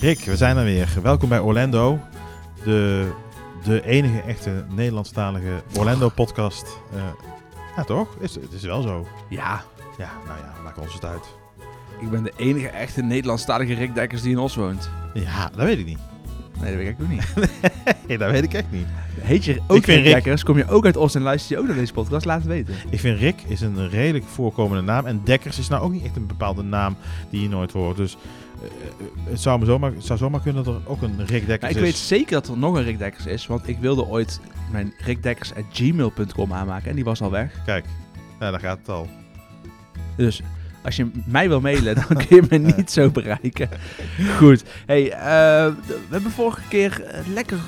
Rick, we zijn er weer. Welkom bij Orlando, de, de enige echte Nederlandstalige Orlando-podcast. Eh, ja, toch? Is, het is wel zo. Ja, Ja, nou ja, maak ons het uit. ik ben de enige echte Nederlandstalige Rick Dekkers die in Os woont. Ja, dat weet ik niet. Nee, dat weet ik ook niet. Nee, dat weet ik echt niet. Heet je Ik ook vind Rick Rick- Dekkers, kom je ook uit Os en luister je ook naar deze podcast, laat het weten. Ik vind Rick is een redelijk voorkomende naam. En Dekkers is nou ook niet echt een bepaalde naam die je nooit hoort. Dus eh, het zou, me zomaar, het zou zomaar kunnen dat er ook een Rick Maar Dekkers ik is. weet zeker dat er nog een Rick Dekkers is, want ik wilde ooit mijn rickdekkers.gmail.com aanmaken en die was al weg. Kijk, nou, daar gaat het al. Dus als je mij wil mailen, dan kun je me niet zo bereiken. Goed, hey, eh, d- we hebben vorige keer eh, lekker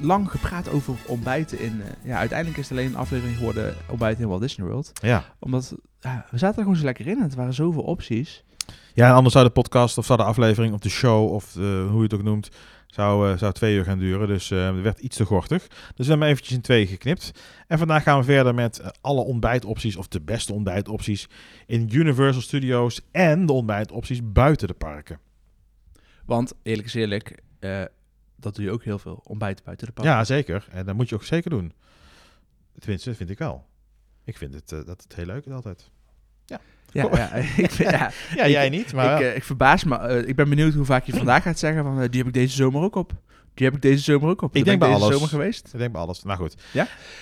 lang gepraat over ontbijten in... eh, ja, uiteindelijk is het alleen een aflevering geworden ontbijten in Walt Disney World. Ja. Omdat ja, we zaten er gewoon zo lekker in en het waren zoveel opties. Ja, en anders zou de podcast of zou de aflevering of de show of eh, hoe je het ook noemt, zou, eh, zou twee uur gaan duren. Dus eh, het werd iets te gortig. Dus we hebben hem eventjes in twee geknipt. En vandaag gaan we verder met eh, alle ontbijtopties of de beste ontbijtopties in Universal Studios en de ontbijtopties buiten de parken. Want eerlijk is eerlijk, eh, dat doe je ook heel veel. Ontbijten buiten de parken. Ja, zeker. En dat moet je ook zeker doen. Tenminste, dat vind ik wel. Ik vind het, eh, dat het heel leuk is altijd. ja, ja, ik, vind- ja, Ja, jij niet, maar... ik, eh, ik verbaas me. eh, ik ben benieuwd hoe vaak je vandaag gaat zeggen van eh, die heb ik deze zomer ook op. Die heb ik deze zomer ook op. Ik Daar denk bij ben deze alles. zomer geweest. ik denk bij alles. Nou goed.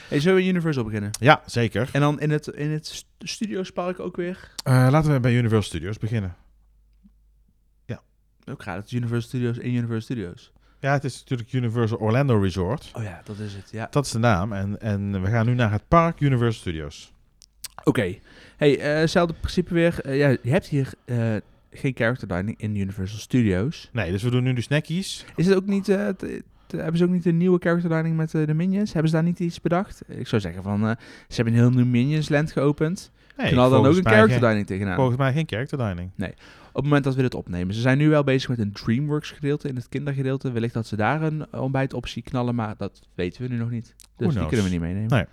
Hey, zullen we in Universal beginnen? Ja, zeker. En dan in het, in het st- Studiospark ook weer? Eh, laten we bij Universal Studios beginnen. Ook raar, het is Universal Studios in Universal Studios. Ja, het is natuurlijk Universal Orlando Resort. Oh ja, dat is het, ja. Dat is de naam. En, en we gaan nu naar het park Universal Studios. Oké. Hey, eh, hetzelfde principe weer. Eh, ja, je hebt hier eh, geen character dining in Universal Studios. Nee, dus we doen nu de snackies. Is het ook niet... eh, t- t- hebben ze ook niet een nieuwe character dining met eh, de Minions? Hebben ze daar niet iets bedacht? Ik zou zeggen van... eh, ze hebben een heel nieuw Minions land geopend. Nee, en hadden dan ook volgens een mij character geen- dining tegenaan. Volgens mij geen character dining. Op het moment dat we dit opnemen. Ze zijn nu wel bezig met een DreamWorks gedeelte. In het kindergedeelte. Wellicht dat ze daar een eh, ontbijtoptie knallen. Maar dat weten we nu nog niet. Dus die knows? kunnen we niet meenemen. Nee.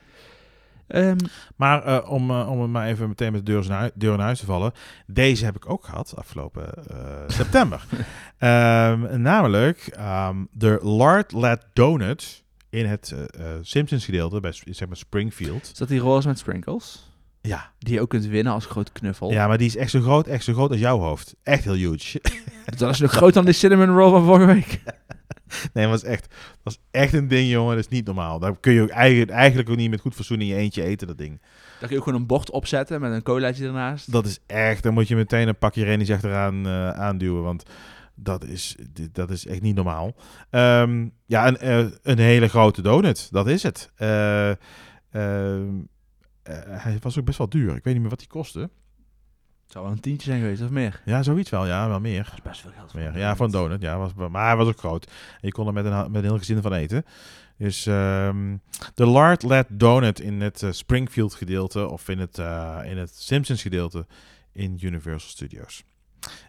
Ehm, Maar eh, om, eh, om het maar even meteen met de deur in, hui- deur in huis te vallen. Deze heb ik ook gehad afgelopen eh, september. Ehm, namelijk ehm, de Lard Lad Donut in het eh, eh, Simpsons gedeelte bij Sp- zeg maar Springfield. is dat die roze met sprinkles? Ja. Die je ook kunt winnen als groot knuffel. ja, maar die is echt zo groot, echt zo groot als jouw hoofd. Echt heel huge. Dat is nog groter dan de cinnamon roll van vorige week. Nee, maar dat is echt, dat is echt een ding, jongen. Dat is niet normaal. Daar kun je ook eigenlijk, eigenlijk ook niet met goed fatsoen in je eentje eten, dat ding. Daar kun je ook gewoon een bord opzetten met een colaatje ernaast. Dat is echt, dan moet je meteen een pakje Renis achteraan eh, aanduwen, want dat is, dit- dat is echt niet normaal. Ehm, ja, een, eh, een hele grote donut, dat is het. Eh, ehm, eh, hij was ook best wel duur. Ik weet niet meer wat die kostte. Het zou wel een tientje zijn geweest of meer. Ja, zoiets wel. Ja, wel meer. Dat is best veel geld. voor Meer. een Ja, voor een donut. Ja, was, maar hij was ook groot. En je kon er met een, ha- met een heel gezin van eten. Dus ehm, de Lard Lad Donut in het eh, Springfield gedeelte of in het, eh, in het Simpsons gedeelte in Universal Studios.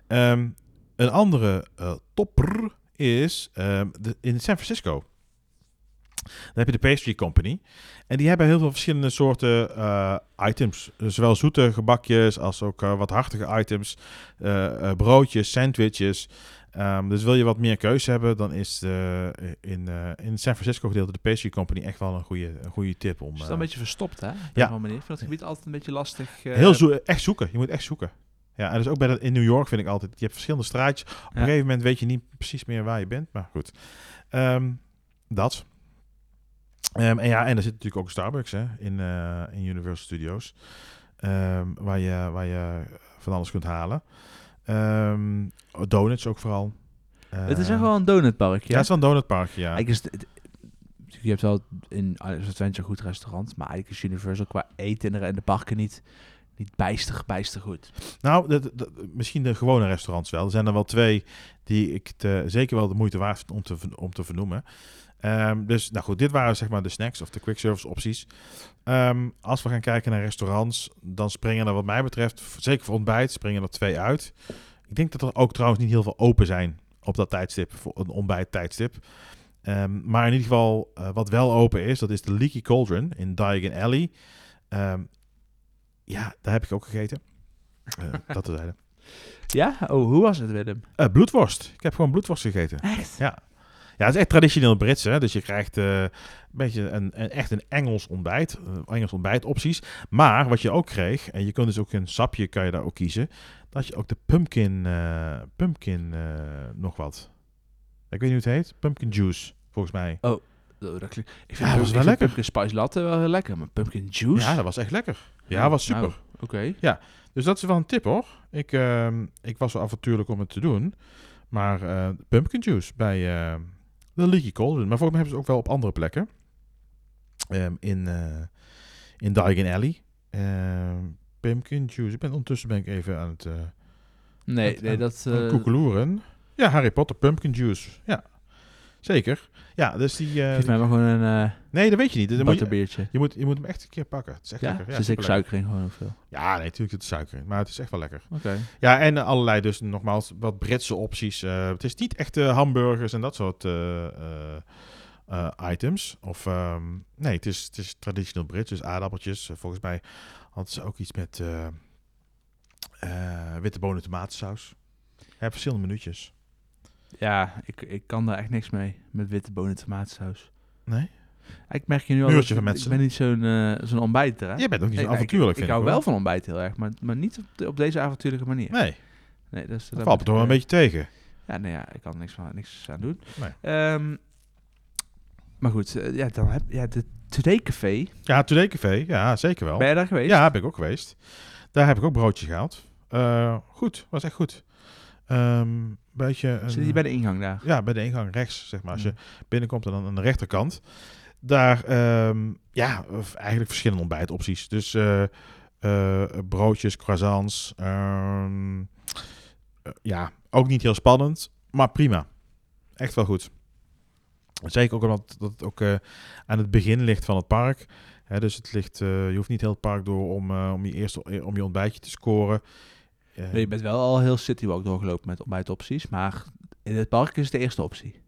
Ehm, een andere eh, topper is ehm, de, in San Francisco. Dan heb je de Pastry Company. En die hebben heel veel verschillende soorten eh, items. Dus Zowel zoete gebakjes als ook eh, wat hartige items. Eh, eh, broodjes, sandwiches. Ehm, dus wil je wat meer keuze hebben, dan is eh, in, eh, in het San Francisco gedeelte de Pastry Company echt wel een goede, een goede tip. Om, Het is eh, wel een beetje verstopt, hè? Op Ja. een manier. Ik vind dat gebied altijd een beetje lastig. eh, heel zo echt zoeken. Je moet echt zoeken. Ja, en dus ook bij dat, in New York vind ik altijd, je hebt verschillende straatjes. Op een Ja. gegeven moment weet je niet precies meer waar je bent, maar goed. Ehm, dat. Ehm, en ja, en er zit natuurlijk ook een Starbucks hè, in, eh, in Universal Studios. Ehm, waar, je, waar je van alles kunt halen. Ehm, donuts ook vooral. Het is Ehm, echt wel een donutparkje. Ja, het is wel een donutparkje, ja. Eigenlijk is het- het- je hebt wel in Alice Adventure een goed restaurant, maar eigenlijk is Universal qua eten en de- en de parken niet, niet bijster, bijster goed. Nou, dat- dat- misschien de gewone restaurants wel. Er zijn er wel twee die ik te- zeker wel de moeite waard vind om te, ver- om te vernoemen. Ehm, dus, nou goed, dit waren zeg maar de snacks of de quick service opties. Ehm, als we gaan kijken naar restaurants, dan springen er wat mij betreft, v- zeker voor ontbijt, springen er twee uit. Ik denk dat er ook trouwens niet heel veel open zijn op dat tijdstip, voor een ontbijt tijdstip. Ehm, maar in ieder geval, eh, wat wel open is, dat is de Leaky Cauldron in Diagon Alley. Ehm, ja, daar heb ik ook gegeten. Eh, dat te zeiden. Ja? Oh, hoe was het, Willem? Eh, bloedworst. Ik heb gewoon bloedworst gegeten. Echt? Ja, het is echt traditioneel Brits, hè. Dus je krijgt eh, een beetje een, een- echt een Engels ontbijt. eh, Engels ontbijt opties. Maar wat je ook kreeg, en je kunt dus ook een sapje, kan je daar ook kiezen. Dat je ook de pumpkin, eh, pumpkin eh, nog wat. Ik weet niet hoe het heet. Pumpkin juice, volgens mij. Oh, dat klinkt- ik Ja, dat was ik wel lekker. Pumpkin spice latte wel heel lekker, maar pumpkin juice? Ja, dat was echt lekker. Ja, was super. Nou, Oké. Dus dat is wel een tip hoor. Ik, ehm, ik was wel avontuurlijk om het te doen. Maar eh, pumpkin juice bij eh, de Leaky Colden. Maar volgens mij hebben ze het ook wel op andere plekken. Ehm, in, eh, in Diagon Alley. Ehm, pumpkin juice. Ik ben, ondertussen ben ik even aan het, eh, aan Nee, Het- nee, en- dat... het eh, koekeloeren. Ja, Harry Potter pumpkin juice. Ja, zeker. Ja, dus die... eh, geef mij maar gewoon een eh, nee, dat weet je niet. Dus dan moet je, butterbeertje. je, moet, je moet hem echt een keer pakken. Het is echt Ja? lekker. Ze zeker superlekker. suiker in gewoon of veel. Oké. Ja, nee, natuurlijk zit er suiker in. Maar het is echt wel lekker. Ja, en allerlei dus nogmaals wat Britse opties. Eh, het is niet echt eh, hamburgers en dat soort eh, eh, eh, items. Of ehm, nee, het is, het is traditioneel Brits, dus aardappeltjes. Eh, volgens mij hadden ze ook iets met eh, eh, witte bonen tomatensaus. Ja, verschillende minuutjes. Ja, ik, ik kan daar echt niks mee. Met witte bonen tomatensaus. Nee? Ik merk je nu al... Muurtje dat van ik- mensen. Ik ben niet zo'n eh, zo'n ontbijter, hè? Je bent ook niet Nee, zo maar ik- avontuurlijk, Ik, vind hou hoor. wel van ontbijt heel erg, maar, maar niet op, de- op deze avontuurlijke manier. Nee, Nee, dus, eh, dat is dat valt me toch wel een beetje tegen. Ja, nee, ja, ik kan er niks, van, niks aan doen. Nee. Ehm, maar goed, eh, ja, dan heb ja, de Today Café. Ja, Today Café, ja, zeker wel. Ben je daar geweest? Oh. Ja, ben ik ook geweest. Daar heb ik ook broodje gehaald. Eh, goed, was echt goed. Ehm beetje een, Zit je bij de ingang daar? ja, bij de ingang rechts, zeg maar. Als je Mm. binnenkomt en dan aan de rechterkant. Daar, ehm, ja, v- eigenlijk verschillende ontbijtopties. Dus eh, eh, broodjes, croissants. ehm, eh, ja, ook niet heel spannend, maar prima. Echt wel goed. Zeker ook omdat dat het ook eh, aan het begin ligt van het park. Hè, dus het ligt, eh, je hoeft niet heel het park door om, eh, om, je, eerste, om je ontbijtje te scoren. Eh, Nee, je bent wel al heel Citywalk doorgelopen met ontbijtopties, maar in het park is het de eerste optie.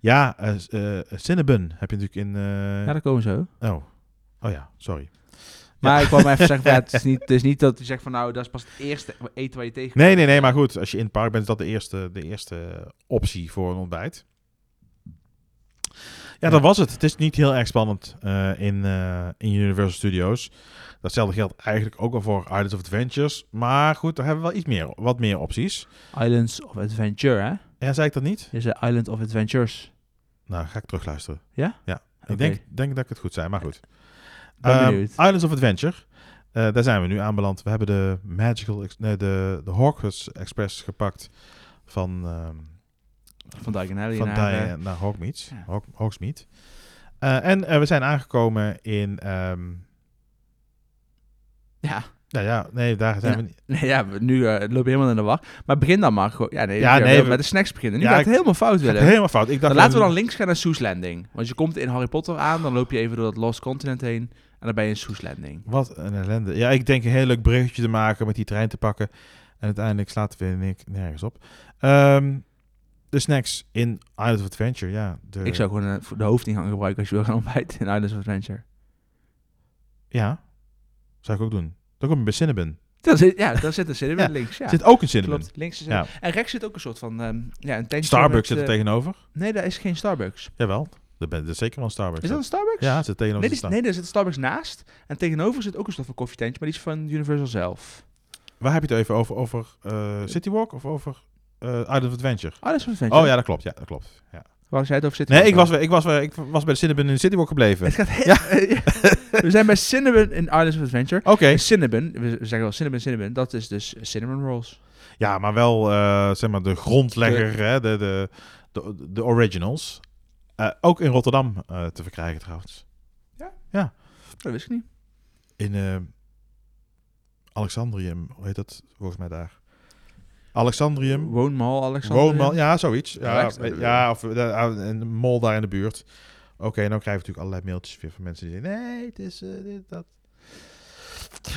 Ja, eh eh, Cinnabon heb je natuurlijk in... eh, Ja, dat komen we zo. Oh. Oh ja, sorry. Maar ik wou maar even zeggen, van, ja, het, is niet, het is niet dat je zegt van nou, dat is pas het eerste eten waar je tegen Nee, nee, nee, maar goed. Als je in het park bent, is dat de eerste, de eerste optie voor een ontbijt. Ja, dat was het. Het is niet heel erg spannend eh, in, eh, in Universal Studios. Datzelfde geldt eigenlijk ook al voor Islands of Adventures. Maar goed, daar hebben we wel iets meer, wat meer opties. Islands of Adventure, hè? Ja, zei ik dat niet? Is een Island of Adventures. Nou, ga ik terugluisteren. Ja? Ja. Ik Oké. denk, denk dat ik het goed zei, maar goed. Ben Ehm, benieuwd. Islands of Adventure. Eh, daar zijn we nu aanbeland. We hebben de Magical, Ex- nee, de, de Hogwarts Express gepakt van, ehm, Van Dijk en Ellie van nou, naar, Dai- eh, naar Hogsmeade. ja. Hog- Hogsmeade. Eh, en eh, we zijn aangekomen in, ehm, Ja, nou ja, nee, daar zijn we niet. nee, ja we- nu eh, loop je helemaal in de war. Maar begin dan maar gewoon. Ja, nee, Ja, ja, nee, we- met de snacks beginnen. Nu Ja, gaat ik- het helemaal fout, Gaat Willem. Helemaal fout. Ik dacht, Dan laten we dan links gaan naar Soes Landing. Want je komt in Harry Potter aan, dan loop je even door dat Lost Continent heen. En dan ben je in Soes Landing. Wat een ellende. Ja, ik denk een heel leuk bruggetje te maken met die trein te pakken. En uiteindelijk slaat het weer nik- nergens op. Ehm, de snacks in Island of Adventure, ja. De, Ik zou gewoon eh, voor de hoofdingang gebruiken als je wil gaan ontbijten in Islands of Adventure. Ja, zou ik ook doen. Dan kom je bij Cinnabon. Dan zit, ja, daar zit een cinnamon Ja, links. Ja, Zit ook een Cinnabon. klopt. Links is Ja. En rechts zit ook een soort van... ehm, ja, een tentje Starbucks met, zit er eh, tegenover. Nee, daar is geen Starbucks. Jawel, dat ben- dat is zeker wel een Starbucks. Is dat een Starbucks? Ja, het zit tegenover Nee, de die is- Star- nee, daar zit Starbucks naast. En tegenover zit ook een soort van koffietentje, maar die is van Universal zelf. Waar heb je het even over? Over eh Citywalk of over eh Island of Adventure? Oh, dat is wel een Oh ja, dat klopt. Ja, dat klopt. Ja. Waar zij het over zitten. Nee, ik was, weer- ik, was, weer- ik was bij de Cinnabon in Citywalk gebleven. Het gaat heel... we zijn bij Cinnabon in Islands of Adventure. Oké. En Cinnabon, we zeggen wel Cinnabon, Cinnabon, dat is dus Cinnamon Rolls. Ja, maar wel eh, zeg maar de grondlegger, hè, de, de, de, de originals. Eh, ook in Rotterdam eh, te verkrijgen trouwens. Dat wist ik niet. In eh, Alexandrium, hoe heet dat volgens mij daar? Alexandrium. Woonmal, Alexander. Woonmal, ja, zoiets. Ja, Alex- eh, ja of eh, een mol daar in de buurt. Oké, nou krijg je natuurlijk allerlei mailtjes weer van mensen die zeggen... Nee, het is eh, dit, dat.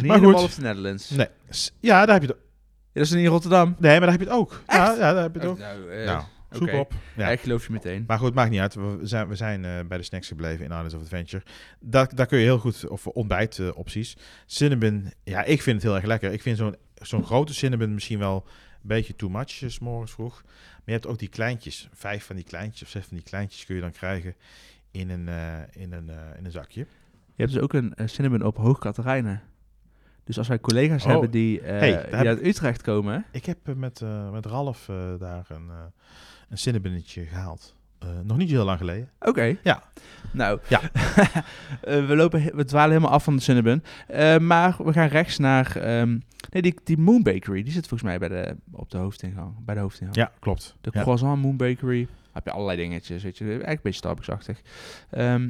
Niet Maar in de goed. Mall of the Netherlands. Nee. S- Ja, daar heb je het Ja, dat is niet in Rotterdam. Nee, maar daar heb je het ook. Ja, Echt? ja, daar heb je het ook. Nou, eh, Nou, zoek oké. op. ja, Ja. Ik geloof je meteen. Maar goed, maakt niet uit. We zijn, we zijn eh, bij de snacks gebleven in Islands of Adventure. eh, Daar, daar kun je heel goed, of ontbijtopties. opties. Cinnamon, ja, ik vind het heel erg lekker. Ik vind zo'n zo'n grote cinnamon misschien wel een beetje too much is morgens vroeg. Maar je hebt ook die kleintjes. Vijf van die kleintjes of zes van die kleintjes kun je dan krijgen in een, eh, in een, eh, in een zakje. Je hebt dus ook een eh, cinnamon op Hoog Katerijnen. Dus als wij collega's Oh. hebben die, eh, Hey, daar die heb uit Utrecht komen, hè? Ik heb eh, met, eh, met Ralf eh, daar een, eh een cinnamonnetje gehaald. Eh, nog niet zo heel lang geleden. Oké. Ja. Nou, Ja. Eh, we, lopen, he- we dwalen helemaal af van de Cinnabon. Eh, maar we gaan rechts naar... ehm, nee, die, die Moon Bakery, die zit volgens mij bij de, op de hoofdingang. Bij de hoofdingang. Ja, klopt. De Ja. Croissant Moon Bakery. Heb je allerlei dingetjes, weet je. Eigenlijk een beetje Starbucks-achtig. Ehm,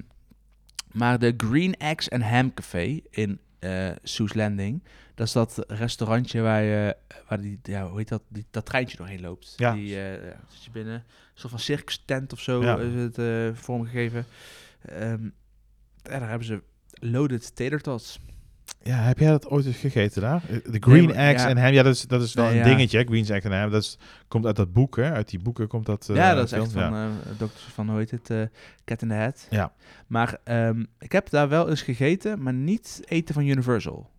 maar de Green Eggs and Ham Café in eh Soes Landing. Dat is dat restaurantje waar, je, waar die, ja, hoe heet dat, die, dat treintje doorheen loopt. Ja. Die, eh, ja, zit je binnen. Een soort van circus tent of zo Ja. is het eh, vormgegeven. Ehm, en daar hebben ze loaded tater tots. Ja, heb jij dat ooit eens gegeten daar? Eh, De Green Nee, maar- Eggs ja. en Ham. Ja, dat is, dat is wel Nee, een ja. dingetje. hè, Green Eggs en Ham. Dat is, komt uit dat boek, hè? Uit die boeken komt dat... eh, ja, dat is film. echt van eh dokter van, hoe heet het, eh, Cat in the Hat. Ja. Maar ehm, ik heb daar wel eens gegeten, maar niet eten van Universal.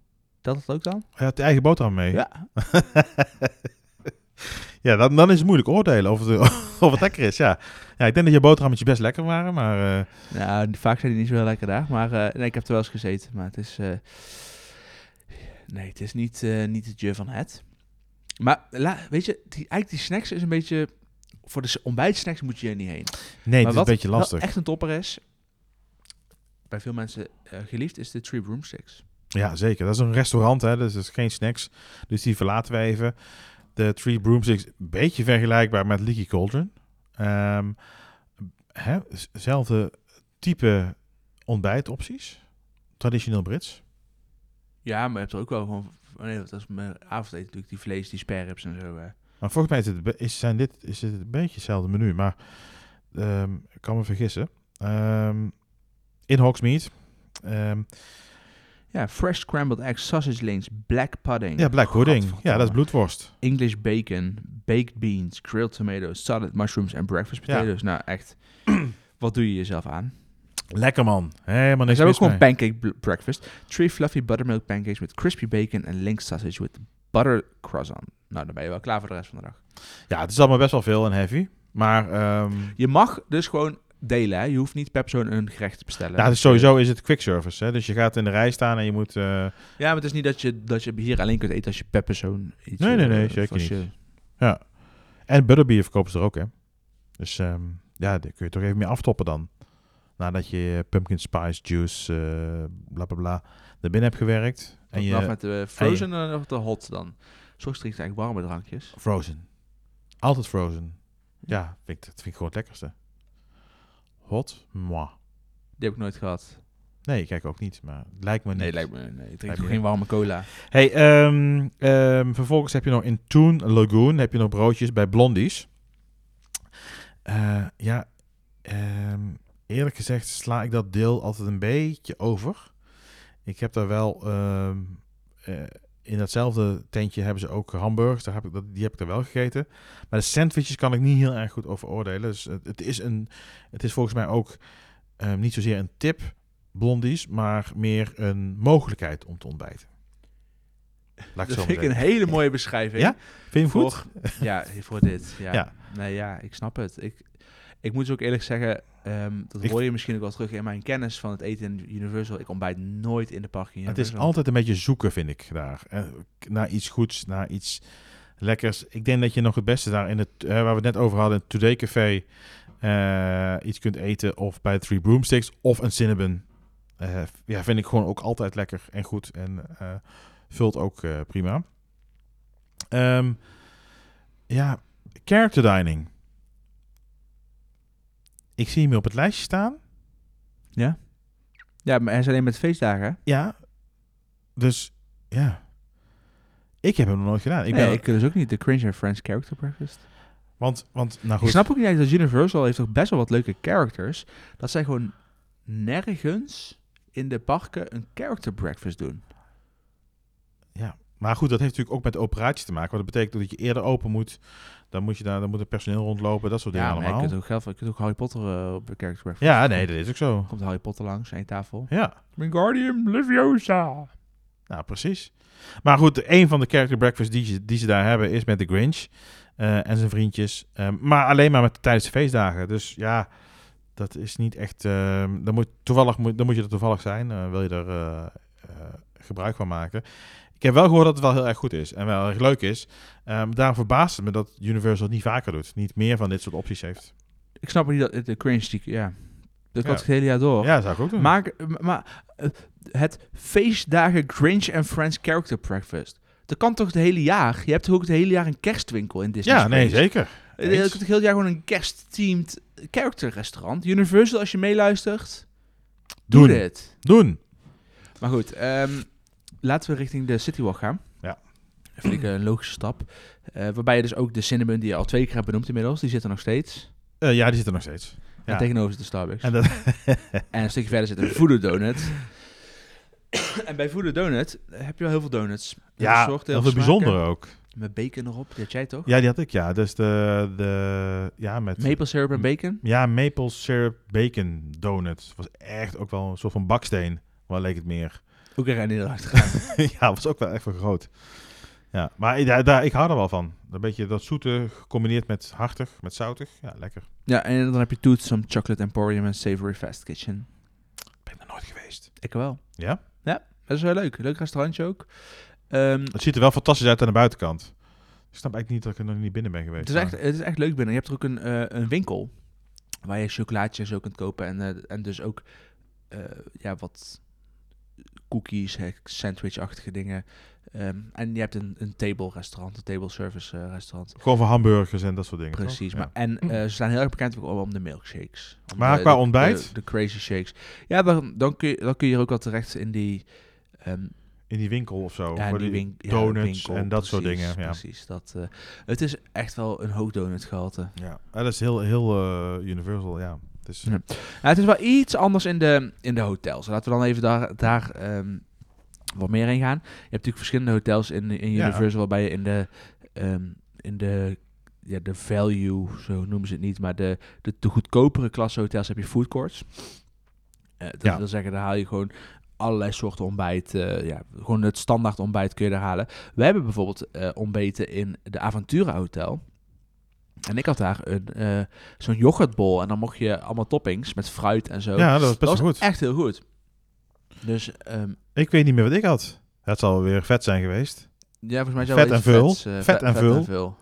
Dat is ook dan? Hij had de eigen boterham mee. Ja, Ja. dan, dan is het moeilijk oordelen of het, of het lekker is, ja. ja. Ik denk dat je boterhammetjes best lekker waren, maar... eh, Nou, vaak zijn die niet zo heel lekker daar, maar eh, nee, ik heb er wel eens gezeten, maar het is... eh, nee, het is niet, eh, niet het je van het. Maar la- weet je, die, eigenlijk die snacks is een beetje... Voor de s- ontbijtsnacks moet je er niet nee, heen. het is maar een wat beetje wel lastig. echt een topper is, bij veel mensen eh, geliefd, is de Three Broomsticks. Ja, zeker. Dat is een restaurant, hè, dus dat is geen snacks. Dus die verlaten we even. De Three Broomsticks, een beetje vergelijkbaar met Leaky Cauldron. Ehm, hè, z- zelfde type ontbijtopties. Traditioneel Brits. Ja, maar je hebt er ook wel gewoon... oh Nee, dat is mijn avondeten natuurlijk, die vlees, die sperrips en zo. eh. hè. Maar volgens mij is het, be- is, zijn dit, is dit een beetje hetzelfde menu, maar ehm, ik kan me vergissen. Ehm, in Hogsmeade. Ehm, Ja, fresh scrambled eggs, sausage links, black pudding. ja, black pudding. Godverdomme. Ja, dat is bloedworst. English bacon, baked beans, grilled tomatoes, salad mushrooms en breakfast Ja. potatoes. Nou, echt. Wat doe je jezelf aan? Lekker man. Helemaal Ze niks hebben ook mis gewoon mee. pancake bl- breakfast. Three fluffy buttermilk pancakes with crispy bacon en link sausage with butter croissant. Nou, dan ben je wel klaar voor de rest van de dag. Ja, het is allemaal best wel veel en heavy. Maar ehm, Je mag dus gewoon delen, hè. Je hoeft niet per persoon een gerecht te bestellen. Nou, dus sowieso is het quick service. Hè? Dus je gaat in de rij staan en je moet. eh, Ja, maar het is niet dat je, dat je hier alleen kunt eten als je per persoon iets... Nee, nee, eh, nee, of zeker als je- ja. En butterbeer verkopen ze er ook, hè? Dus ehm, ja, daar kun je toch even mee aftoppen dan. Nadat je pumpkin spice juice, eh bla bla bla, er binnen hebt gewerkt. En En je, je. met de frozen en of de hot dan. Soms drinkt eigenlijk warme drankjes. Frozen. Altijd frozen. Hm. Ja, vind ik, dat vind ik gewoon het lekkerste. Hot? Moi. Die heb ik nooit gehad. Nee, kijk ook niet, maar het lijkt me niet. Nee, lijkt me. Nee, ik drink Lijkt toch me- geen warme cola. Hey, ehm, ehm, vervolgens heb je nog in Toon Lagoon heb je nog broodjes bij Blondies. Eh, ja, ehm, eerlijk gezegd sla ik dat deel altijd een beetje over. Ik heb daar wel ehm, eh, in datzelfde tentje hebben ze ook hamburgers. Daar heb ik dat, die heb ik er wel gegeten. Maar de sandwiches kan ik niet heel erg goed over oordelen. Dus het, het is een, het is volgens mij ook ehm, niet zozeer een tip Blondies, maar meer een mogelijkheid om te ontbijten. Laat ik het Dat zo maar vind ik een zeggen. hele mooie beschrijving. Ja? Vind je hem goed? voor, ja, voor dit. Ja. Ja. Nee, ja, ik snap het. Ik, ik moet dus ook eerlijk zeggen, ehm, dat Ik- hoor je misschien ook wel terug in mijn kennis van het eten in Universal. Ik ontbijt nooit in de parking. Het is Universal. altijd een beetje zoeken, vind ik, daar. Eh, Naar iets goeds, naar iets lekkers. Ik denk dat je nog het beste daar, in het, eh, waar we het net over hadden, in het Today Café, eh, iets kunt eten. Of bij Three Broomsticks, of een Cinnabon. Eh, ja, vind ik gewoon ook altijd lekker en goed. En eh, vult ook eh, prima. Ehm, ja, character dining. Ik zie hem hier op het lijstje staan. Ja, maar hij is alleen met feestdagen. hè? Ja. Dus ja. Ik heb hem nog nooit gedaan. Ik nee, ben, ik dus ook niet. De Cringe and Friends Character Breakfast. want, want, nou Ik goed. snap ook niet eigenlijk dat Universal heeft toch best wel wat leuke characters. Dat zij gewoon nergens in de parken een character breakfast doen. Maar goed, dat heeft natuurlijk ook met de operatie te maken. Want dat betekent dat je eerder open moet. Dan moet je daar, dan moet het personeel rondlopen. Dat soort dingen Ja, maar je allemaal. kunt ook, geld, je kunt ook Harry Potter eh, op de character breakfast. Ja, nee, dat is ook zo. Komt Harry Potter langs aan je tafel. Ja. Wingardium Leviosa. Nou, precies. Maar goed, een van de character breakfasts die, ze- die ze daar hebben is met de Grinch eh, en zijn vriendjes. Ehm, maar alleen maar met, tijdens de feestdagen. Dus ja, dat is niet echt... ehm, dan, moet, toevallig, moet- dan moet je er toevallig zijn. eh, wil je er eh, eh, gebruik van maken. Ik heb wel gehoord dat het wel heel erg goed is en wel erg leuk is. Ehm daarom verbaast het me dat Universal het niet vaker doet. Niet meer van dit soort opties heeft. Ik snap niet dat het de cringe die... Ja, dat Ja. had ik het hele jaar door. Ja, zou ik ook doen. Oh. Maar, maar eh, het feestdagen Grinch and Friends Character Breakfast. Dat kan toch het hele jaar? Je hebt toch ook het hele jaar een kerstwinkel in Disney? ja, nee, Springs? zeker. Eh, Je hebt toch het hele jaar gewoon een kerstteamed character restaurant? Universal, als je meeluistert, doe Doen. dit. Doen. Maar goed, ehm, laten we richting de Citywalk gaan. Ja. Dat vind ik een logische stap. Eh, waarbij je dus ook de Cinnamon, die je al twee keer hebt benoemd inmiddels, die zit er nog steeds. Eh, ja, die zit er nog steeds. Ja. En tegenover zit de Starbucks. En En, dat, een stukje verder zit een Voodoo Donut. en bij Voodoo Donut heb je wel heel veel donuts. Heel ja, veel soorten, dat is veel smaken. bijzonder ook. Met bacon erop, dat jij toch? Ja, die had ik, ja. Dus de, de ja, met, Maple syrup en bacon. ja, maple syrup bacon donut. Was echt ook wel een soort van baksteen. Waar leek het meer. Ook weer aan inderdaad. ja, was ook wel echt wel groot. Ja, maar ik- daar, daar, ik hou er wel van. Een beetje dat zoete gecombineerd met hartig, met zoutig. Ja, lekker. Ja, en dan heb je Toots, some Chocolate Emporium en Savory Fast Kitchen. Ik ben er nooit geweest. Ik wel. Ja? Ja, dat is wel leuk. Leuk restaurantje ook. Ehm, Het ziet er wel fantastisch uit aan de buitenkant. Ik snap eigenlijk niet dat ik er nog niet binnen ben geweest. het, is echt, het is echt leuk binnen. Je hebt er ook een, eh, een winkel waar je chocolaatjes ook kunt kopen. En, eh, en dus ook eh, ja, wat cookies, hè, sandwich-achtige dingen. Ehm, en je hebt een, een table restaurant, een table service eh, restaurant. Gewoon voor hamburgers en dat soort dingen. Precies, toch? maar en eh, ze staan heel erg bekend ook om de milkshakes. Om Maar de- qua de- ontbijt? De, de crazy shakes. Ja, dan, dan, kun je, dan kun je er ook wel terecht in die, ehm, Ja. In die winkel of zo. ja, waar in die win- ja, donuts winkel, en dat soort precies, dingen, ja. Precies, dat, eh, het is echt wel een hoog donutgehalte. Ja, Ah, dat is heel, heel eh, universal, ja. Het is, Ja. Nou, het is wel iets anders in de, in de hotels. Laten we dan even daar, daar ehm, wat meer in gaan. Je hebt natuurlijk verschillende hotels in, in Ja. Universal waarbij je in de, ehm, in de, ja, de value, zo noemen ze het niet, maar de, de, de goedkopere klasse hotels heb je food courts. Eh, dat Ja. wil zeggen, daar haal je gewoon allerlei soorten ontbijt. eh, ja, gewoon het standaard ontbijt kun je daar halen. We hebben bijvoorbeeld eh, ontbeten in de Aventura Hotel. En ik had daar een, eh, zo'n yoghurtbol. En dan mocht je allemaal toppings met fruit en zo. ja, dat is dat best was wel goed. echt heel goed. Dus ehm, Ik weet niet meer wat ik had. Het zal weer vet zijn geweest. ja, volgens mij zou Vet wel en iets vul. vets, eh, Vet ve- en vul.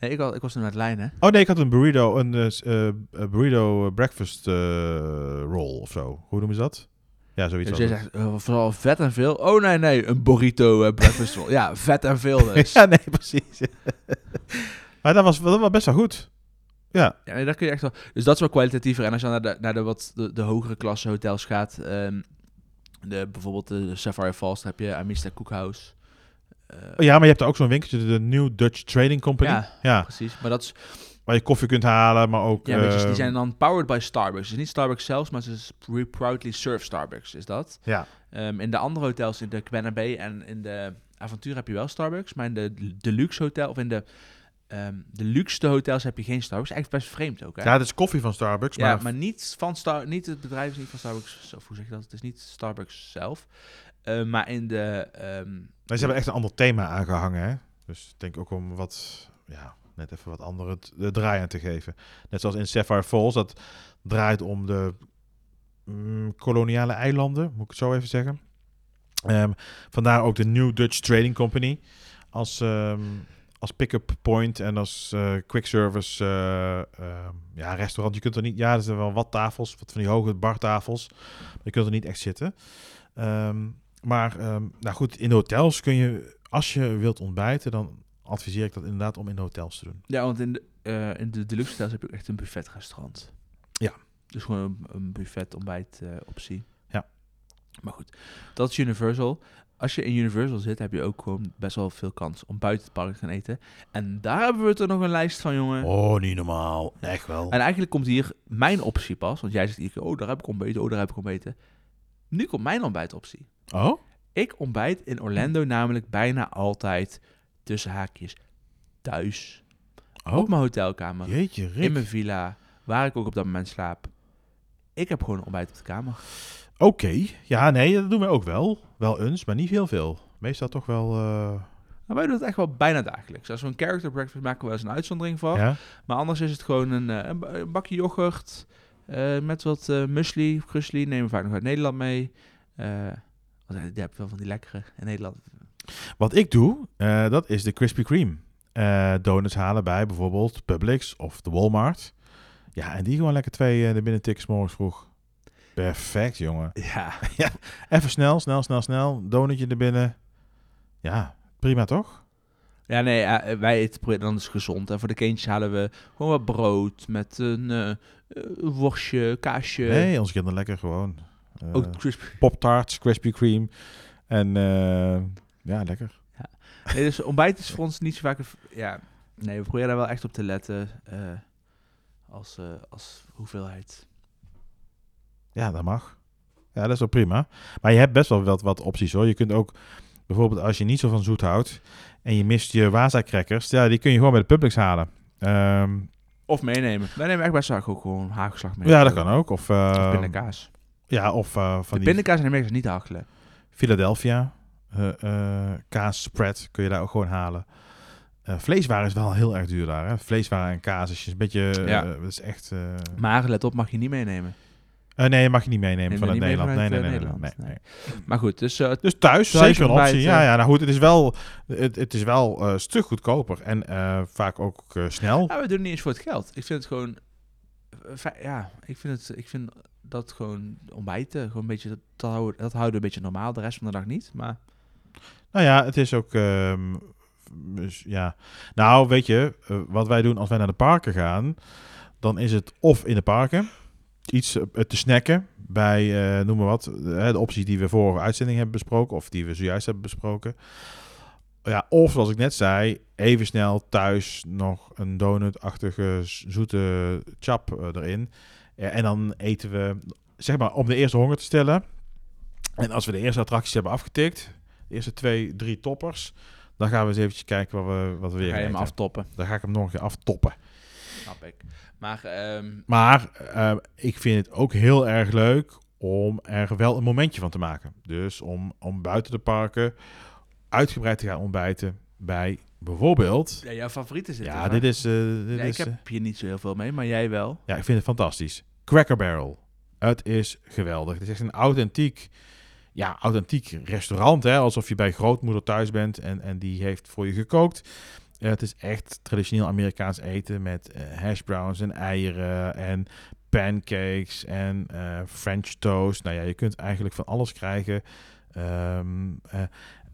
Nee, ik, was- ik was toen met Lijn, hè? Oh nee, ik had een burrito, een eh, s- eh, eh, burrito breakfast eh, roll of zo. Hoe noemen ze dat? Ja, zoiets. Dus was jij het. zegt eh, vooral vet en veel. Oh nee, nee, een burrito eh, breakfast roll. ja, vet en veel dus. ja, nee, precies. maar dat was, dat was best wel goed. Ja, Ja, nee, daar kun je echt wel. Dus dat is wel kwalitatiever. En als je dan naar de, naar de wat de, de hogere klasse hotels gaat, ehm, de, bijvoorbeeld de Sapphire Falls, daar heb je Amista Cookhouse. Eh, Oh, ja maar je hebt daar ook zo'n winkeltje, de New Dutch Trading Company. Ja. ja, precies. Maar dat is, waar je koffie kunt halen, maar ook... ja, weet je, eh, die zijn dan powered by Starbucks. Dus niet Starbucks zelfs, maar ze is we proudly serve Starbucks, is dat. Ja. Ehm, in de andere hotels, in de Quenna Bay en in de Aventura heb je wel Starbucks, maar in de deluxe hotel of in de, ehm de luxe hotels heb je geen Starbucks. Eigenlijk best vreemd ook, hè? ja, het is koffie van Starbucks, Ja, maar, maar niet van Star, niet het bedrijf is niet van Starbucks zelf. Hoe zeg je dat? Het is niet Starbucks zelf, Eh, maar in de ehm, Maar ze hebben echt een ander thema aangehangen, hè? Dus ik denk ook om wat, ja, net even wat andere t- de draai aan te geven. Net zoals in Sapphire Falls, dat draait om de mm, koloniale eilanden, moet ik het zo even zeggen. Ehm, vandaar ook de New Dutch Trading Company als, ehm, als pick-up point en als eh, quick service eh, ehm, ja, restaurant. Je kunt er niet, ja, er zijn wel wat tafels, wat van die hoge bartafels, maar je kunt er niet echt zitten. Ehm, maar ehm, nou goed, in de hotels kun je, als je wilt ontbijten, dan adviseer ik dat inderdaad om in de hotels te doen. ja, want in de, eh, in de deluxe hotels heb je ook echt een buffetrestaurant. Ja. Dus gewoon een, een buffet ontbijt eh, optie. Ja. Maar goed, dat is Universal. Als je in Universal zit, heb je ook gewoon best wel veel kans om buiten het park te gaan eten. En daar hebben we er nog een lijst van, jongen. Oh, niet normaal. Echt wel. En eigenlijk komt hier mijn optie pas. Want jij zegt iedere keer, oh, daar heb ik ontbeten, oh, daar heb ik ontbeten. Nu komt mijn ontbijtoptie. Oh? Ik ontbijt in Orlando namelijk bijna altijd tussen haakjes thuis. Op Oh, mijn hotelkamer, jeetje Rick. in mijn villa, waar ik ook op dat moment slaap. Ik heb gewoon ontbijt op de kamer. Oké, Oké, ja, nee, dat doen we ook wel. Wel eens, maar niet heel veel. Meestal toch wel. eh, Maar wij doen het echt wel bijna dagelijks. Als we een character breakfast maken, we wel eens een uitzondering van. ja? Maar anders is het gewoon een, eh, een ba- een bakje yoghurt eh, met wat eh muesli, krusli. Nemen we vaak nog uit Nederland mee. Eh want je hebt wel van die lekkere in Nederland. Wat ik doe, eh, dat is de Krispy Kreme. eh, donuts halen bij bijvoorbeeld Publix of de Walmart. Ja, en die gewoon lekker twee eh er binnen tikken 's morgens vroeg. Perfect, jongen. Ja, Even snel, snel, snel, snel. Donutje er binnen. Ja, prima toch? Ja, nee, ja, wij eten pro- dan is het gezond. En voor de kindjes halen we gewoon wat brood met een eh, eh, worstje, kaasje. Nee, onze kinderen lekker gewoon. eh, Ook crispy. Pop-tarts, Krispy Kreme. En eh, ja, lekker. Nee, dus ontbijt is voor ons niet zo vaak... een v- Ja, nee, we proberen daar wel echt op te letten eh, als, eh, als hoeveelheid. Ja, dat mag. Ja, dat is wel prima. Maar je hebt best wel wat, wat opties hoor. Je kunt ook bijvoorbeeld als je niet zo van zoet houdt en je mist je waza crackers, ja, die kun je gewoon bij de Publix halen. Ehm, Of meenemen. Wij nemen echt best vaak ook gewoon hagelslag mee. ja, dat kan ook. Of, eh, Of pindakaas. Ja, of eh, van die de pindakaas in Amerika is niet hagelen. Philadelphia eh, eh, kaas spread kun je daar ook gewoon halen. Eh, vleeswaren is wel heel erg duur daar. Hè? Vleeswaren en kaas is een beetje. eh, Ja. dat is echt. eh, Maar let op, mag je niet meenemen. eh, nee, mag je niet meenemen Neem vanuit je niet mee Nederland. nee, vanuit, nee, eh, nee, nee, Nederland. nee, nee. Maar goed, dus eh, Dus thuis, Thuis zeker een optie. ontbijten. Ja, ja, nou goed, het is wel, het, het is wel eh, een stuk goedkoper en eh, vaak ook eh, snel. Ja, we doen het niet eens voor het geld. Ik vind het gewoon... eh, fi- Ja, ik vind, het, ik vind dat gewoon ontbijten, gewoon een beetje, dat, dat houden, dat houden we een beetje normaal, de rest van de dag niet. Maar Nou ja, het is ook, ehm, dus ja. Nou, weet je, eh, wat wij doen als wij naar de parken gaan, dan is het of in de parken iets eh, te snacken bij, eh, noem maar wat, de, de opties die we vorige uitzending hebben besproken of die we zojuist hebben besproken. Ja, of zoals ik net zei, even snel thuis nog een donutachtige z- zoete chap eh, erin. Ja, en dan eten we, zeg maar, om de eerste honger te stellen. En als we de eerste attracties hebben afgetikt, de eerste twee, drie toppers, dan gaan we eens eventjes kijken wat we, wat we dan weer ga je hem eten. aftoppen. Dan ga ik hem nog een keer aftoppen. Snap ik. Maar ehm, Maar eh, ik vind het ook heel erg leuk om er wel een momentje van te maken. Dus om, om buiten de parken uitgebreid te gaan ontbijten bij bijvoorbeeld... ja, jouw favoriet is het. Ja, dit is... eh, dit Ja, ik is eh, heb hier niet zo heel veel mee, maar jij wel. ja, ik vind het fantastisch. Cracker Barrel. Het is geweldig. Het is echt een authentiek, ja, authentiek restaurant. Hè? Alsof je bij grootmoeder thuis bent en, en die heeft voor je gekookt. Eh, het is echt traditioneel Amerikaans eten met eh, hash browns en eieren en pancakes en eh, French toast. Nou ja, je kunt eigenlijk van alles krijgen. Ehm, eh,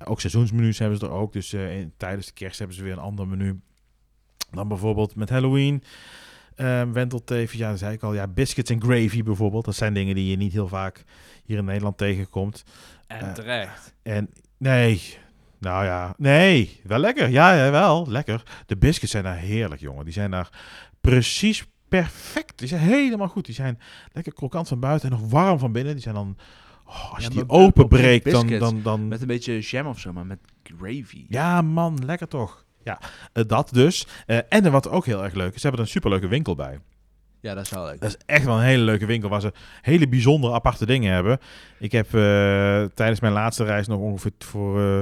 ook seizoensmenu's hebben ze er ook. Dus eh, in- tijdens de kerst hebben ze weer een ander menu. Dan bijvoorbeeld met Halloween. Ehm wentelteven, ja, dat zei ik al. Ja, biscuits en gravy bijvoorbeeld. Dat zijn dingen die je niet heel vaak hier in Nederland tegenkomt. Eh, En terecht. En nee, nou ja, nee, wel lekker. Ja, ja, wel lekker. De biscuits zijn daar heerlijk, jongen. Die zijn daar precies perfect. Die zijn helemaal goed. Die zijn lekker krokant van buiten en nog warm van binnen. Die zijn dan, oh, als Ja, je maar die op- op openbreekt, dan, biscuit dan, dan, Met een beetje jam of zo, maar met gravy. ja, man, lekker toch. Ja, eh, dat dus. Eh, en wat ook heel erg leuk is, ze hebben er een superleuke winkel bij. Ja, dat is wel leuk. Dat is echt wel een hele leuke winkel waar ze hele bijzondere aparte dingen hebben. Ik heb eh, tijdens mijn laatste reis nog ongeveer t- voor, eh,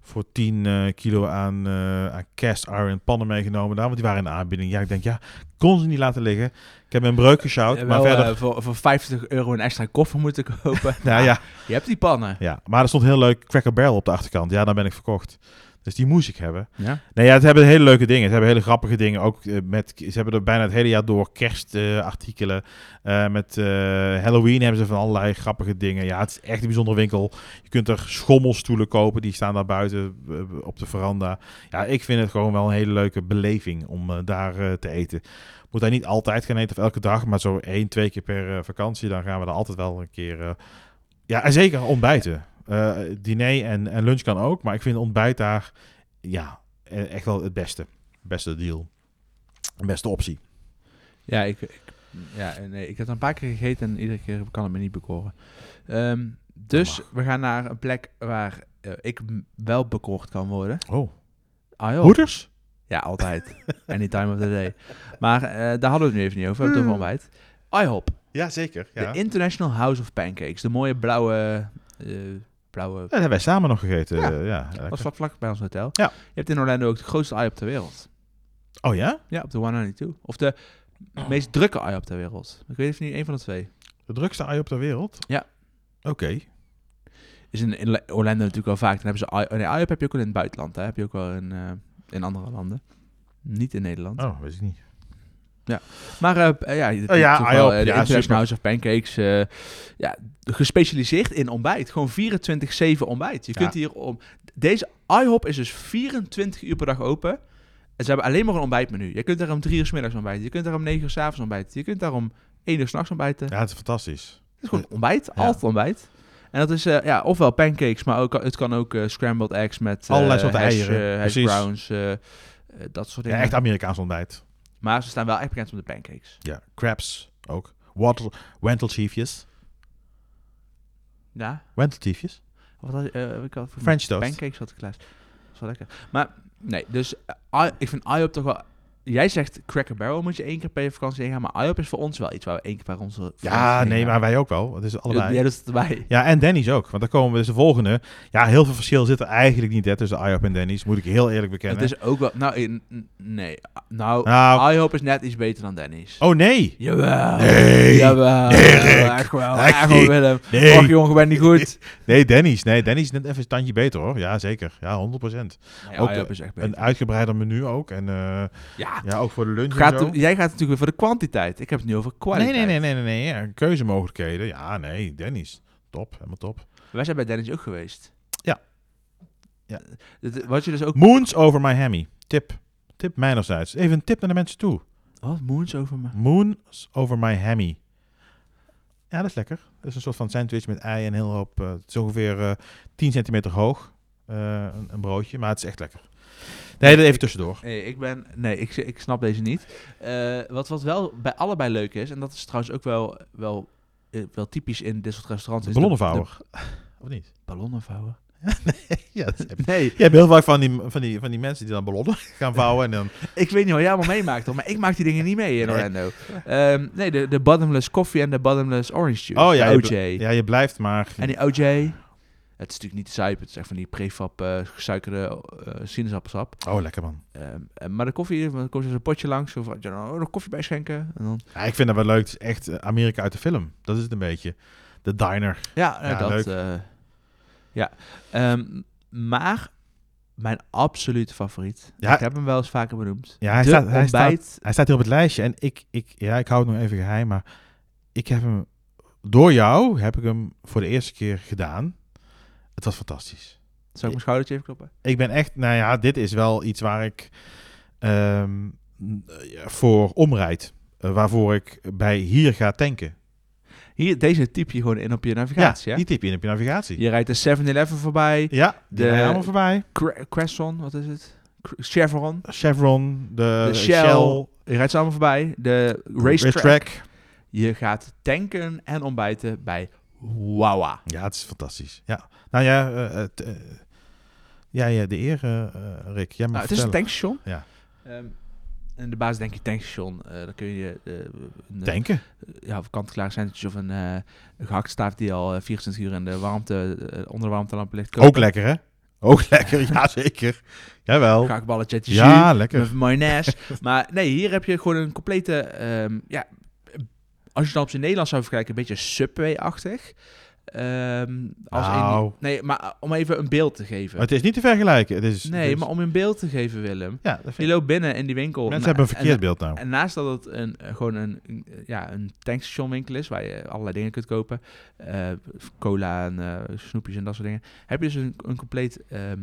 voor 10 eh, kilo aan, eh, aan cast iron pannen meegenomen daar, want die waren in de aanbieding. Ja, ik denk, ja, kon ze niet laten liggen. Ik heb mijn breuk gesjouwd, Eh, maar wel, verder... eh, voor, voor 50 euro een extra koffer moeten kopen. nou ja, Je hebt die pannen. ja, maar er stond heel leuk Cracker Barrel op de achterkant. Ja, dan ben ik verkocht. Dus die moest ik hebben. Ja. Nee, ja, het hebben hele leuke dingen. Het hebben hele grappige dingen. Ook eh, met, ze hebben er bijna het hele jaar door kerstartikelen. met eh, Halloween hebben ze van allerlei grappige dingen. Ja, het is echt een bijzondere winkel. Je kunt er schommelstoelen kopen. Die staan daar buiten eh, op de veranda. Ja, ik vind het gewoon wel een hele leuke beleving om eh, daar eh, te eten. Moet daar niet altijd gaan eten of elke dag. Maar zo één, twee keer per eh, vakantie. Dan gaan we daar altijd wel een keer... eh, ja, en zeker ontbijten. Eh, diner en, en lunch kan ook. Maar ik vind ontbijt daar... Ja, eh, echt wel het beste. Beste deal. Beste optie. Ja, ik, ik- ja nee, ik heb het een paar keer gegeten en iedere keer kan het me niet bekoren. Ehm, dus we gaan naar een plek waar eh, ik m- wel bekoord kan worden. Oh. Ah, joh. Hoeders? Ja, altijd. Any time of the day. Maar eh, daar hadden we het nu even niet over. We hebben het over ontbijt. IHOP. Ja, zeker. Hmm. Ja. De International House of Pancakes. De mooie blauwe... eh, blauwe Ja, dat hebben wij samen nog gegeten. Ja. eh, ja, was lekker. vlak, vlak bij ons hotel. Ja. Je hebt in Orlando ook de grootste eye op ter wereld. Oh ja? Ja, op de 192. Of de meest drukke eye op ter wereld. Ik weet even niet, één van de twee. De drukste ei op de wereld? Ja. Oké. Is in, in Le- Orlando natuurlijk wel vaak. Dan hebben ze eye, nee, eye op heb je ook wel in het buitenland. Hè? Heb je ook wel in, eh, in andere landen. Niet in Nederland. Oh, weet ik niet. Maar eh, p- eh, ja, dit- Oh ja, toch IHOP, wel, eh, ja, de International super. House of Pancakes. eh, ja, gespecialiseerd in ontbijt. Gewoon 24-7 ontbijt. Je Ja. kunt hier om... Deze IHOP is dus 24 uur per dag open. En ze hebben alleen maar een ontbijtmenu. Je kunt daar om 3 uur 's middags ontbijten. Je kunt daar om 9 uur 's avonds ontbijten. Je kunt daar om 1 uur 's nachts ontbijten. Ja, het is fantastisch. Het is gewoon ontbijt. Altijd ontbijt. En dat is eh, ja, ofwel pancakes, maar ook, het kan ook eh, scrambled eggs met eh, Allerlei soorten hash, eieren. eh, hash Precies. browns, eh, eh, dat soort Ja, dingen. echt Amerikaans ontbijt. maar ze staan wel echt bekend om de pancakes. Ja. Crabs ook. Water, wentelchiefjes. Ja, Wentelchiefjes? Wat had, eh, ik had voor French toast. Pancakes had ik laatst. Dat is wel lekker. Maar nee, dus eh, I- ik vind IHOP toch wel... Jij zegt Cracker Barrel moet je één keer per vakantie heen gaan, maar IHOP is voor ons wel iets waar we één keer per onze vakantie Ja, heen nee, gaan. maar wij ook wel. Het is allebei. Ja, dat is erbij. Ja, en Denny's ook. Want daar komen we dus de volgende. Ja, heel veel verschil zit er eigenlijk niet hè, tussen IHOP en Denny's. Moet ik heel eerlijk bekennen. Het is ook wel... Nou, in- n- nee. Nou, Nou, IHOP is net iets beter dan Dennis. oh nee. Jawel. Nee. Jawel. Erik. Echt wel. Echt Echt wel, niet. Willem. Nee. Och, jongen, ben niet goed. Nee, Denny's. Nee, Denny's is net even een tandje beter hoor. Ja, zeker. Ja, 100%. Nee, Ook, IHOP is echt beter. Een uitgebreider menu ook. En eh, ja. ja, ook voor de lunch en Gaat, zo. jij gaat natuurlijk weer voor de kwantiteit. Ik heb het nu over Nee, kwaliteit. nee, nee, nee, nee, nee. Ja, keuzemogelijkheden. Ja, nee, Denny's. Top, helemaal top. Wij zijn bij Dennis ook geweest. Ja. Ja. Dat- Wat je dus ook... Moons over Miami. Tip. Tip mijnerzijds. Even een tip naar de mensen toe. Wat? Oh, Moons over me? Moons over Miami. Ja, dat is lekker. Dat is een soort van sandwich met ei en heel hoop. eh, het is ongeveer eh 10 centimeter hoog. Eh, een, een broodje, maar het is echt lekker. Nee, dat even tussendoor. Nee, ik ben... Nee, ik, ik snap deze niet. Eh, wat, wat wel bij allebei leuk is, en dat is trouwens ook wel, wel, eh, wel typisch in dit soort restaurants... De is ballonnenvouwer. Of niet? de Ballonnenvouwer? Ja, dat heb je. Nee, Je hebt heel vaak van die, van, die, van die mensen die dan ballonnen gaan vouwen. En dan, ik weet niet wat jij allemaal meemaakt, hoor, maar ik maak die dingen niet mee in Orlando. Ehm, nee, de, de bottomless coffee en de bottomless orange juice. oh ja, de je, OJ. bl- ja, je blijft maar. En die OJ... Het is natuurlijk niet zuip, het is echt van die prefab eh, gesuikerde eh sinaasappelsap. Oh, lekker man. Ehm, eh, maar de koffie, want er komt dus een potje langs. Of ja, nou, nog koffie bij schenken. En dan, Ja, ik vind dat wel leuk. Het is echt eh, Amerika uit de film. Dat is het een beetje. De diner. ja, nou, Ja, dat. leuk. eh, ja. Ehm, maar mijn absolute favoriet. Ja. Ik heb hem wel eens vaker benoemd. Ja, hij de staat, hij staat, ontbijt. hij staat hier op het lijstje. En ik, ik, ja, ik hou het nog even geheim. Maar ik heb hem, door jou heb ik hem voor de eerste keer gedaan. Het was fantastisch. Zal ik mijn schoudertje even kloppen? Ik ben echt, nou ja, dit is wel iets waar ik ehm, n- ja, voor omrijd. Eh, waarvoor ik bij hier ga tanken. Hier, deze typ je gewoon in op je navigatie. hè? die typ je in op je navigatie. Je rijdt de 7-Eleven voorbij. Ja, die De- rijden allemaal voorbij. Cre- Cresson, wat is het? Cre- Chevron. Chevron, de, eh, de Shell. Shell, Je rijdt ze allemaal voorbij. De racetrack. racetrack. Je gaat tanken en ontbijten bij Wawa. Ja, het is fantastisch. Ja. Nou ja, eh, het, eh, ja, ja, de eer, eh, eh, Rick. Jij mag Nou, het is vertellen. een tankstation. Ja. Ehm, en de baas denk je tankstation. eh, dan kun je eh, een Tanken. eh, ja, of kant-klaar sandwich of een eh, een gehaktstaaf die al eh, 24 uur in de warmte, eh, onder de warmtelamp ligt. Ook lekker, hè? Ook lekker, ja zeker. Jawel. Gehaktballetje uit de jus, Ja, lekker. met mayonaise. maar nee, hier heb je gewoon een complete... ehm, ja, als je dan op zijn Nederlands zou vergelijken, een beetje Subway-achtig. Ehm, als in- Nou. nee, maar eh, om even een beeld te geven. Maar het is niet te vergelijken. Het is, het nee, is- maar om een beeld te geven, Willem. ja, dat vind Je ik- loopt binnen in die winkel. Mensen en- hebben een en- verkeerd beeld nou. En naast dat het een, eh, gewoon een, een, ja, een tankstationwinkel is, waar je allerlei dingen kunt kopen, eh, cola en eh, snoepjes en dat soort dingen, heb je dus een, een compleet ehm,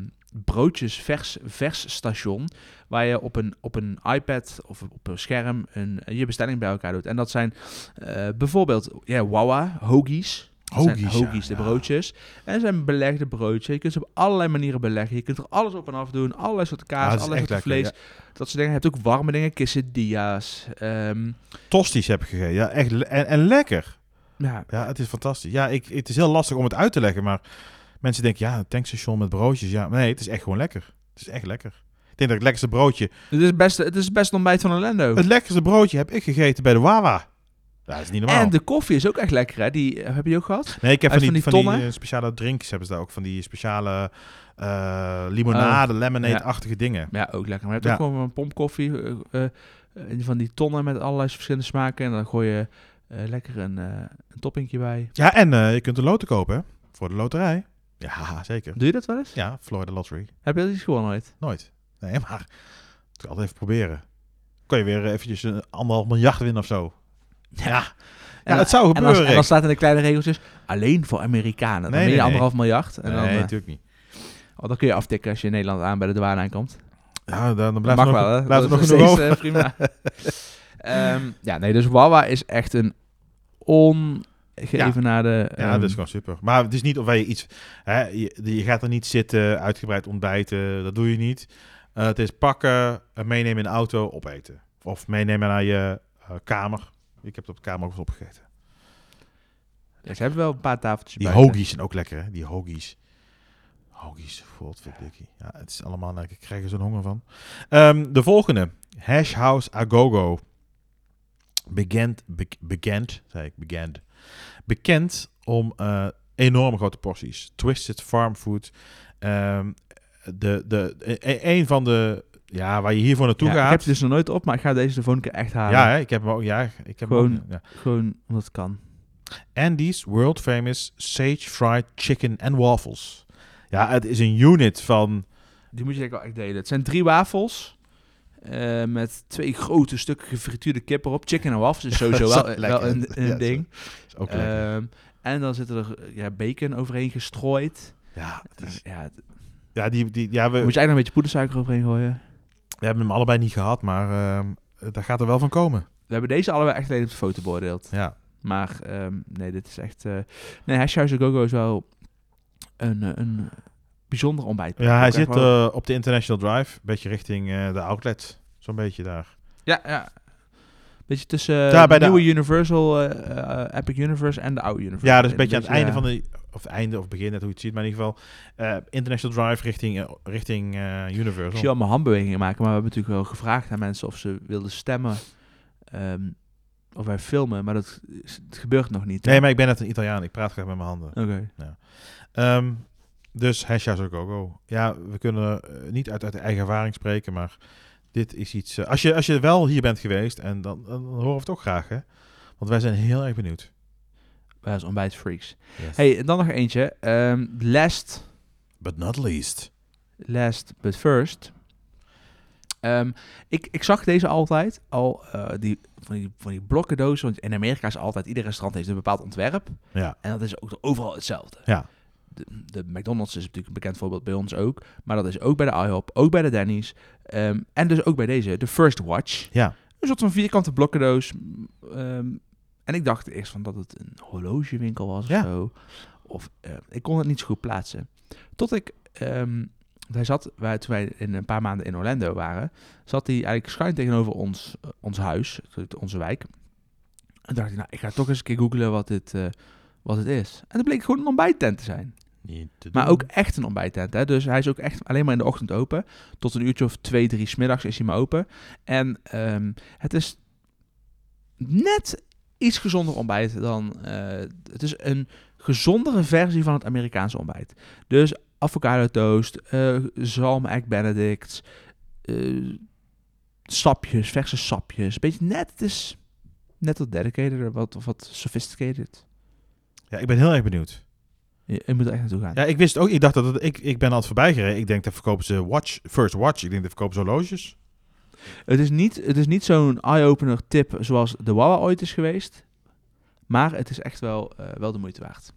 broodjes vers, vers station, waar je op een, op een iPad of op een scherm een, eh, je bestelling bij elkaar doet. En dat zijn eh, bijvoorbeeld ja, Wawa, hoagies, dat zijn Hoagies, ja, hoagies, de ja. broodjes. En er zijn belegde broodjes. Je kunt ze op allerlei manieren beleggen. Je kunt er alles op en af doen. Allerlei soorten kaas, Ja, dat is allerlei echt soorten vlees. lekker, Dat soort dingen. Je hebt ook warme dingen, quesadillas. ehm Tosties heb ik gegeten. Ja, echt le- en, en lekker. ja, Ja, het is fantastisch. Ja, ik, het is heel lastig om het uit te leggen, maar mensen denken, ja, een tankstation met broodjes. Ja, nee, het is echt gewoon lekker. Het is echt lekker. Ik denk dat het lekkerste broodje... het, is best, het is best een ontbijt van Orlando. Het lekkerste broodje heb ik gegeten bij de Wawa. Ja, dat is niet normaal. En de koffie is ook echt lekker, hè? Die eh, heb je die ook gehad? Nee, ik heb van Uit die, van van die die, tonnen? eh, speciale drinks hebben ze daar ook. Van die speciale eh, limonade, lemonade-achtige dingen. Oh, Ja, ook lekker. Maar je hebt Ja. ook gewoon een pompkoffie. eh, eh, eh, van die tonnen met allerlei verschillende smaken. En dan gooi je eh, lekker een, eh, een toppingje bij. Ja, en eh, je kunt een loten kopen hè, voor de loterij. Ja, zeker. Doe je dat wel eens? Ja, Florida Lottery. Heb je dat iets gewonnen ooit? Nooit. Nee, maar ik kan altijd even proberen. Kan je weer eventjes een anderhalf miljard winnen of zo? Ja, ja En- dat zou En dan, gebeuren. en dan staat in de kleine regeltjes alleen voor Amerikanen. Dan Nee, ben je nee, nee. anderhalf miljard. En Rick. dan, nee, eh, natuurlijk niet. oh, dan kun je aftikken als je in Nederland aan bij de douane aankomt. Ja, dan, dan blijft er Mag nog, wel, hè? blijft er Dat nog is genoeg steeds, eh, prima. Ehm, ja, nee, dus Wawa is echt een ongeëvenaarde... Ja, ehm, dat is gewoon super. Maar het is niet of wij iets. Hè, je, je gaat er niet zitten, uitgebreid ontbijten, dat doe je niet. Eh, het is pakken, eh, meenemen in de auto, opeten. Of meenemen naar je eh, kamer. Ik heb het op de kamer ook eens opgegeten. ja, Ze hebben wel een paar tafeltjes Die buiten. hoagies zijn ook lekker, hè? Die hoagies. Hoagies, godverdikkie. Ja, het is allemaal lekker. Ik krijg er zo'n honger van. Ehm, de volgende. Hash House Agogo. Bekend, be- bekend, zei ik, bekend. Bekend om eh, enorm grote porties. Twisted farm food. Ehm, de, de, e- een van de, ja, waar je hiervoor naartoe Ja, Ik gaat. heb het dus nog nooit op, maar ik ga deze de volgende keer echt halen. ja, hè, ik heb hem ook, ja, ik heb hem Gewoon- ook, ja. Gewoon omdat het kan. Andy's World Famous Sage Fried Chicken and Waffles. Ja, het is een unit van... Die moet je denk ik wel echt delen. Het zijn drie wafels. eh, met twee grote stukken gefrituurde kip erop. Chicken en wafels is sowieso Zo wel, lekker. wel een, een Ja, zo. ding. Is ook lekker. Ehm, en dan zitten er eh, ja, bacon overheen gestrooid. ja, het is- Ja, het- ja, die, die, ja, we, moet je eigenlijk nog een beetje poedersuiker overheen gooien. we hebben hem allebei niet gehad, maar ehm daar gaat er wel van komen. We hebben deze allebei echt alleen op de foto beoordeeld. Ja, Maar ehm, nee, dit is echt... eh nee, Hashhouse Go-Go is wel een, eh, een bijzonder ontbijt. ja hij Ook echt zit wel- eh, op de International Drive, een beetje richting eh, de outlet. Zo'n beetje daar. Ja, ja. Beetje tussen eh, Daar bij de de- nieuwe Universal, eh, eh, Epic Universe en de oude Universe. Ja, dus een beetje aan het einde eh, van de... Of einde of begin, net hoe je het ziet. Maar in ieder geval eh, International Drive richting, eh, richting eh, Ik zie Universal. allemaal handbewegingen maken, maar we hebben natuurlijk wel gevraagd aan mensen of ze wilden stemmen. ehm, of wij filmen, maar dat is- het gebeurt nog niet. Nee, maar ik ben net een Italiaan. Ik praat graag met mijn handen. Oké. Ehm, dus hashtag ook go. Ja, we kunnen eh, niet uit, uit de eigen ervaring spreken, maar dit is iets... eh, als, je, als je wel hier bent geweest, en dan, dan horen we het ook graag, hè? Want wij zijn heel erg benieuwd. Wij als ontbijtfreaks. Hey, en dan nog eentje. Ehm, last, But not least. last but first. Ehm, ik, ik zag deze altijd al, eh, die, van, die, van die blokkendozen. Want in Amerika is altijd, ieder restaurant heeft een bepaald ontwerp. Ja. En dat is ook overal hetzelfde. Ja. De, de McDonald's is natuurlijk een bekend voorbeeld bij ons ook. Maar dat is ook bij de IHOP, ook bij de Denny's. ehm, en dus ook bij deze, de First Watch. Ja. Een soort van vierkante blokkendoos. ehm, en ik dacht eerst van dat het een horlogewinkel was of Ja. zo. Of, eh, ik kon het niet zo goed plaatsen. Tot ik... ehm, want hij zat, wij, toen wij in een paar maanden in Orlando waren, zat hij eigenlijk schuin tegenover ons, eh, ons huis, onze wijk. En dacht ik, nou, ik ga toch eens een keer googlen wat dit, eh, wat het is. En dat bleek gewoon een ontbijttent te zijn. Niet te Maar doen. ook echt een ontbijttent. Hè? Dus hij is ook echt alleen maar in de ochtend open. Tot een uurtje of twee, drie smiddags is hij maar open. En ehm, het is net iets gezonder ontbijt dan... eh, het is een gezondere versie van het Amerikaanse ontbijt. Dus avocado toast, eh zalm egg benedict, eh, sapjes, verse sapjes. Beetje net, het is net wat dedicated, wat, wat sophisticated. Ja, ik ben heel erg benieuwd. Je, je moet er echt naartoe gaan. Ja, ik wist ook... Ik dacht dat... Het, ik, ik ben al voorbij gereden. Ik denk, dat verkopen ze watch, first watch. Ik denk, dat verkopen ze horloges. Het is niet, het is niet zo'n eye-opener tip zoals de Wawa ooit is geweest. Maar het is echt wel, eh, wel de moeite waard.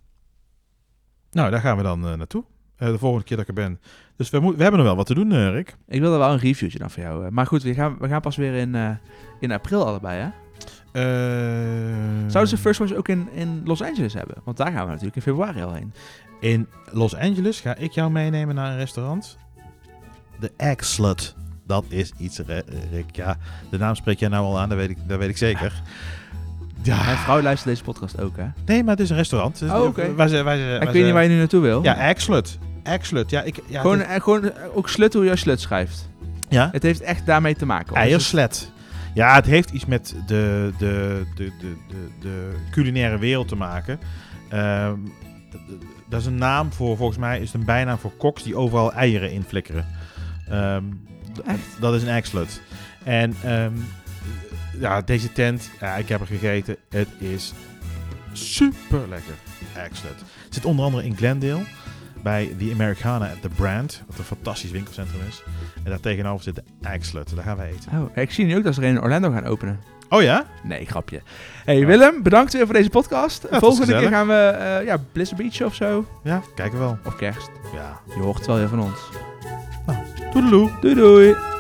Nou, daar gaan we dan eh, naartoe. Eh, de volgende keer dat ik er ben. Dus we, moet- we hebben nog wel wat te doen, eh, Rick. Ik wilde wel een reviewtje dan voor jou. eh, Maar goed, we gaan, we gaan pas weer in, eh, in april allebei, hè? Mm. Eh, Zouden ze First Watch ook in, in Los Angeles hebben? Want daar gaan we natuurlijk in februari al heen. In Los Angeles ga ik jou meenemen naar een restaurant. De Egg Slut. Dat is iets, Re- eh, Rick. Ja, de naam spreek jij nou al aan, dat weet ik, dat weet ik zeker. Mijn Ja, vrouw luistert deze podcast ook, hè? nee, maar het is een restaurant. Dus Oh, oké. waar ze, waar ze, ik weet niet waar je nu naartoe wil. Ja, Egg Slut. Egg Slut. Ja, ik, ja, gewoon, het eh, gewoon eh, ook slut hoe je slut schrijft. is- ja? Het heeft echt daarmee te maken. hoor. Dus eierslet. Ja, het heeft iets met de, de, de, de, de, de culinaire wereld te maken. Ehm, dat is een naam voor, volgens mij is het een bijnaam voor koks die overal eieren in flikkeren. Ehm, d- Echt? Dat is een eggslut. En ehm, ja, deze tent, ja, ik heb er gegeten. Het is super lekker. Eggslut. Het zit onder andere in Glendale bij The Americana at the Brand. Wat een fantastisch winkelcentrum is. En daar tegenover zit de Eggslut. Daar gaan we eten. Oh, ik zie nu ook dat ze er een in Orlando gaan openen. Oh ja? Nee, grapje. Hey Willem, bedankt weer voor deze podcast. was Volgende keer gezellig. gaan we eh, ja, Blizzard Beach of zo. Ja, kijken we wel. Of kerst. Ja. Je hoort het wel weer van ons. Toedeloe. Doei doei.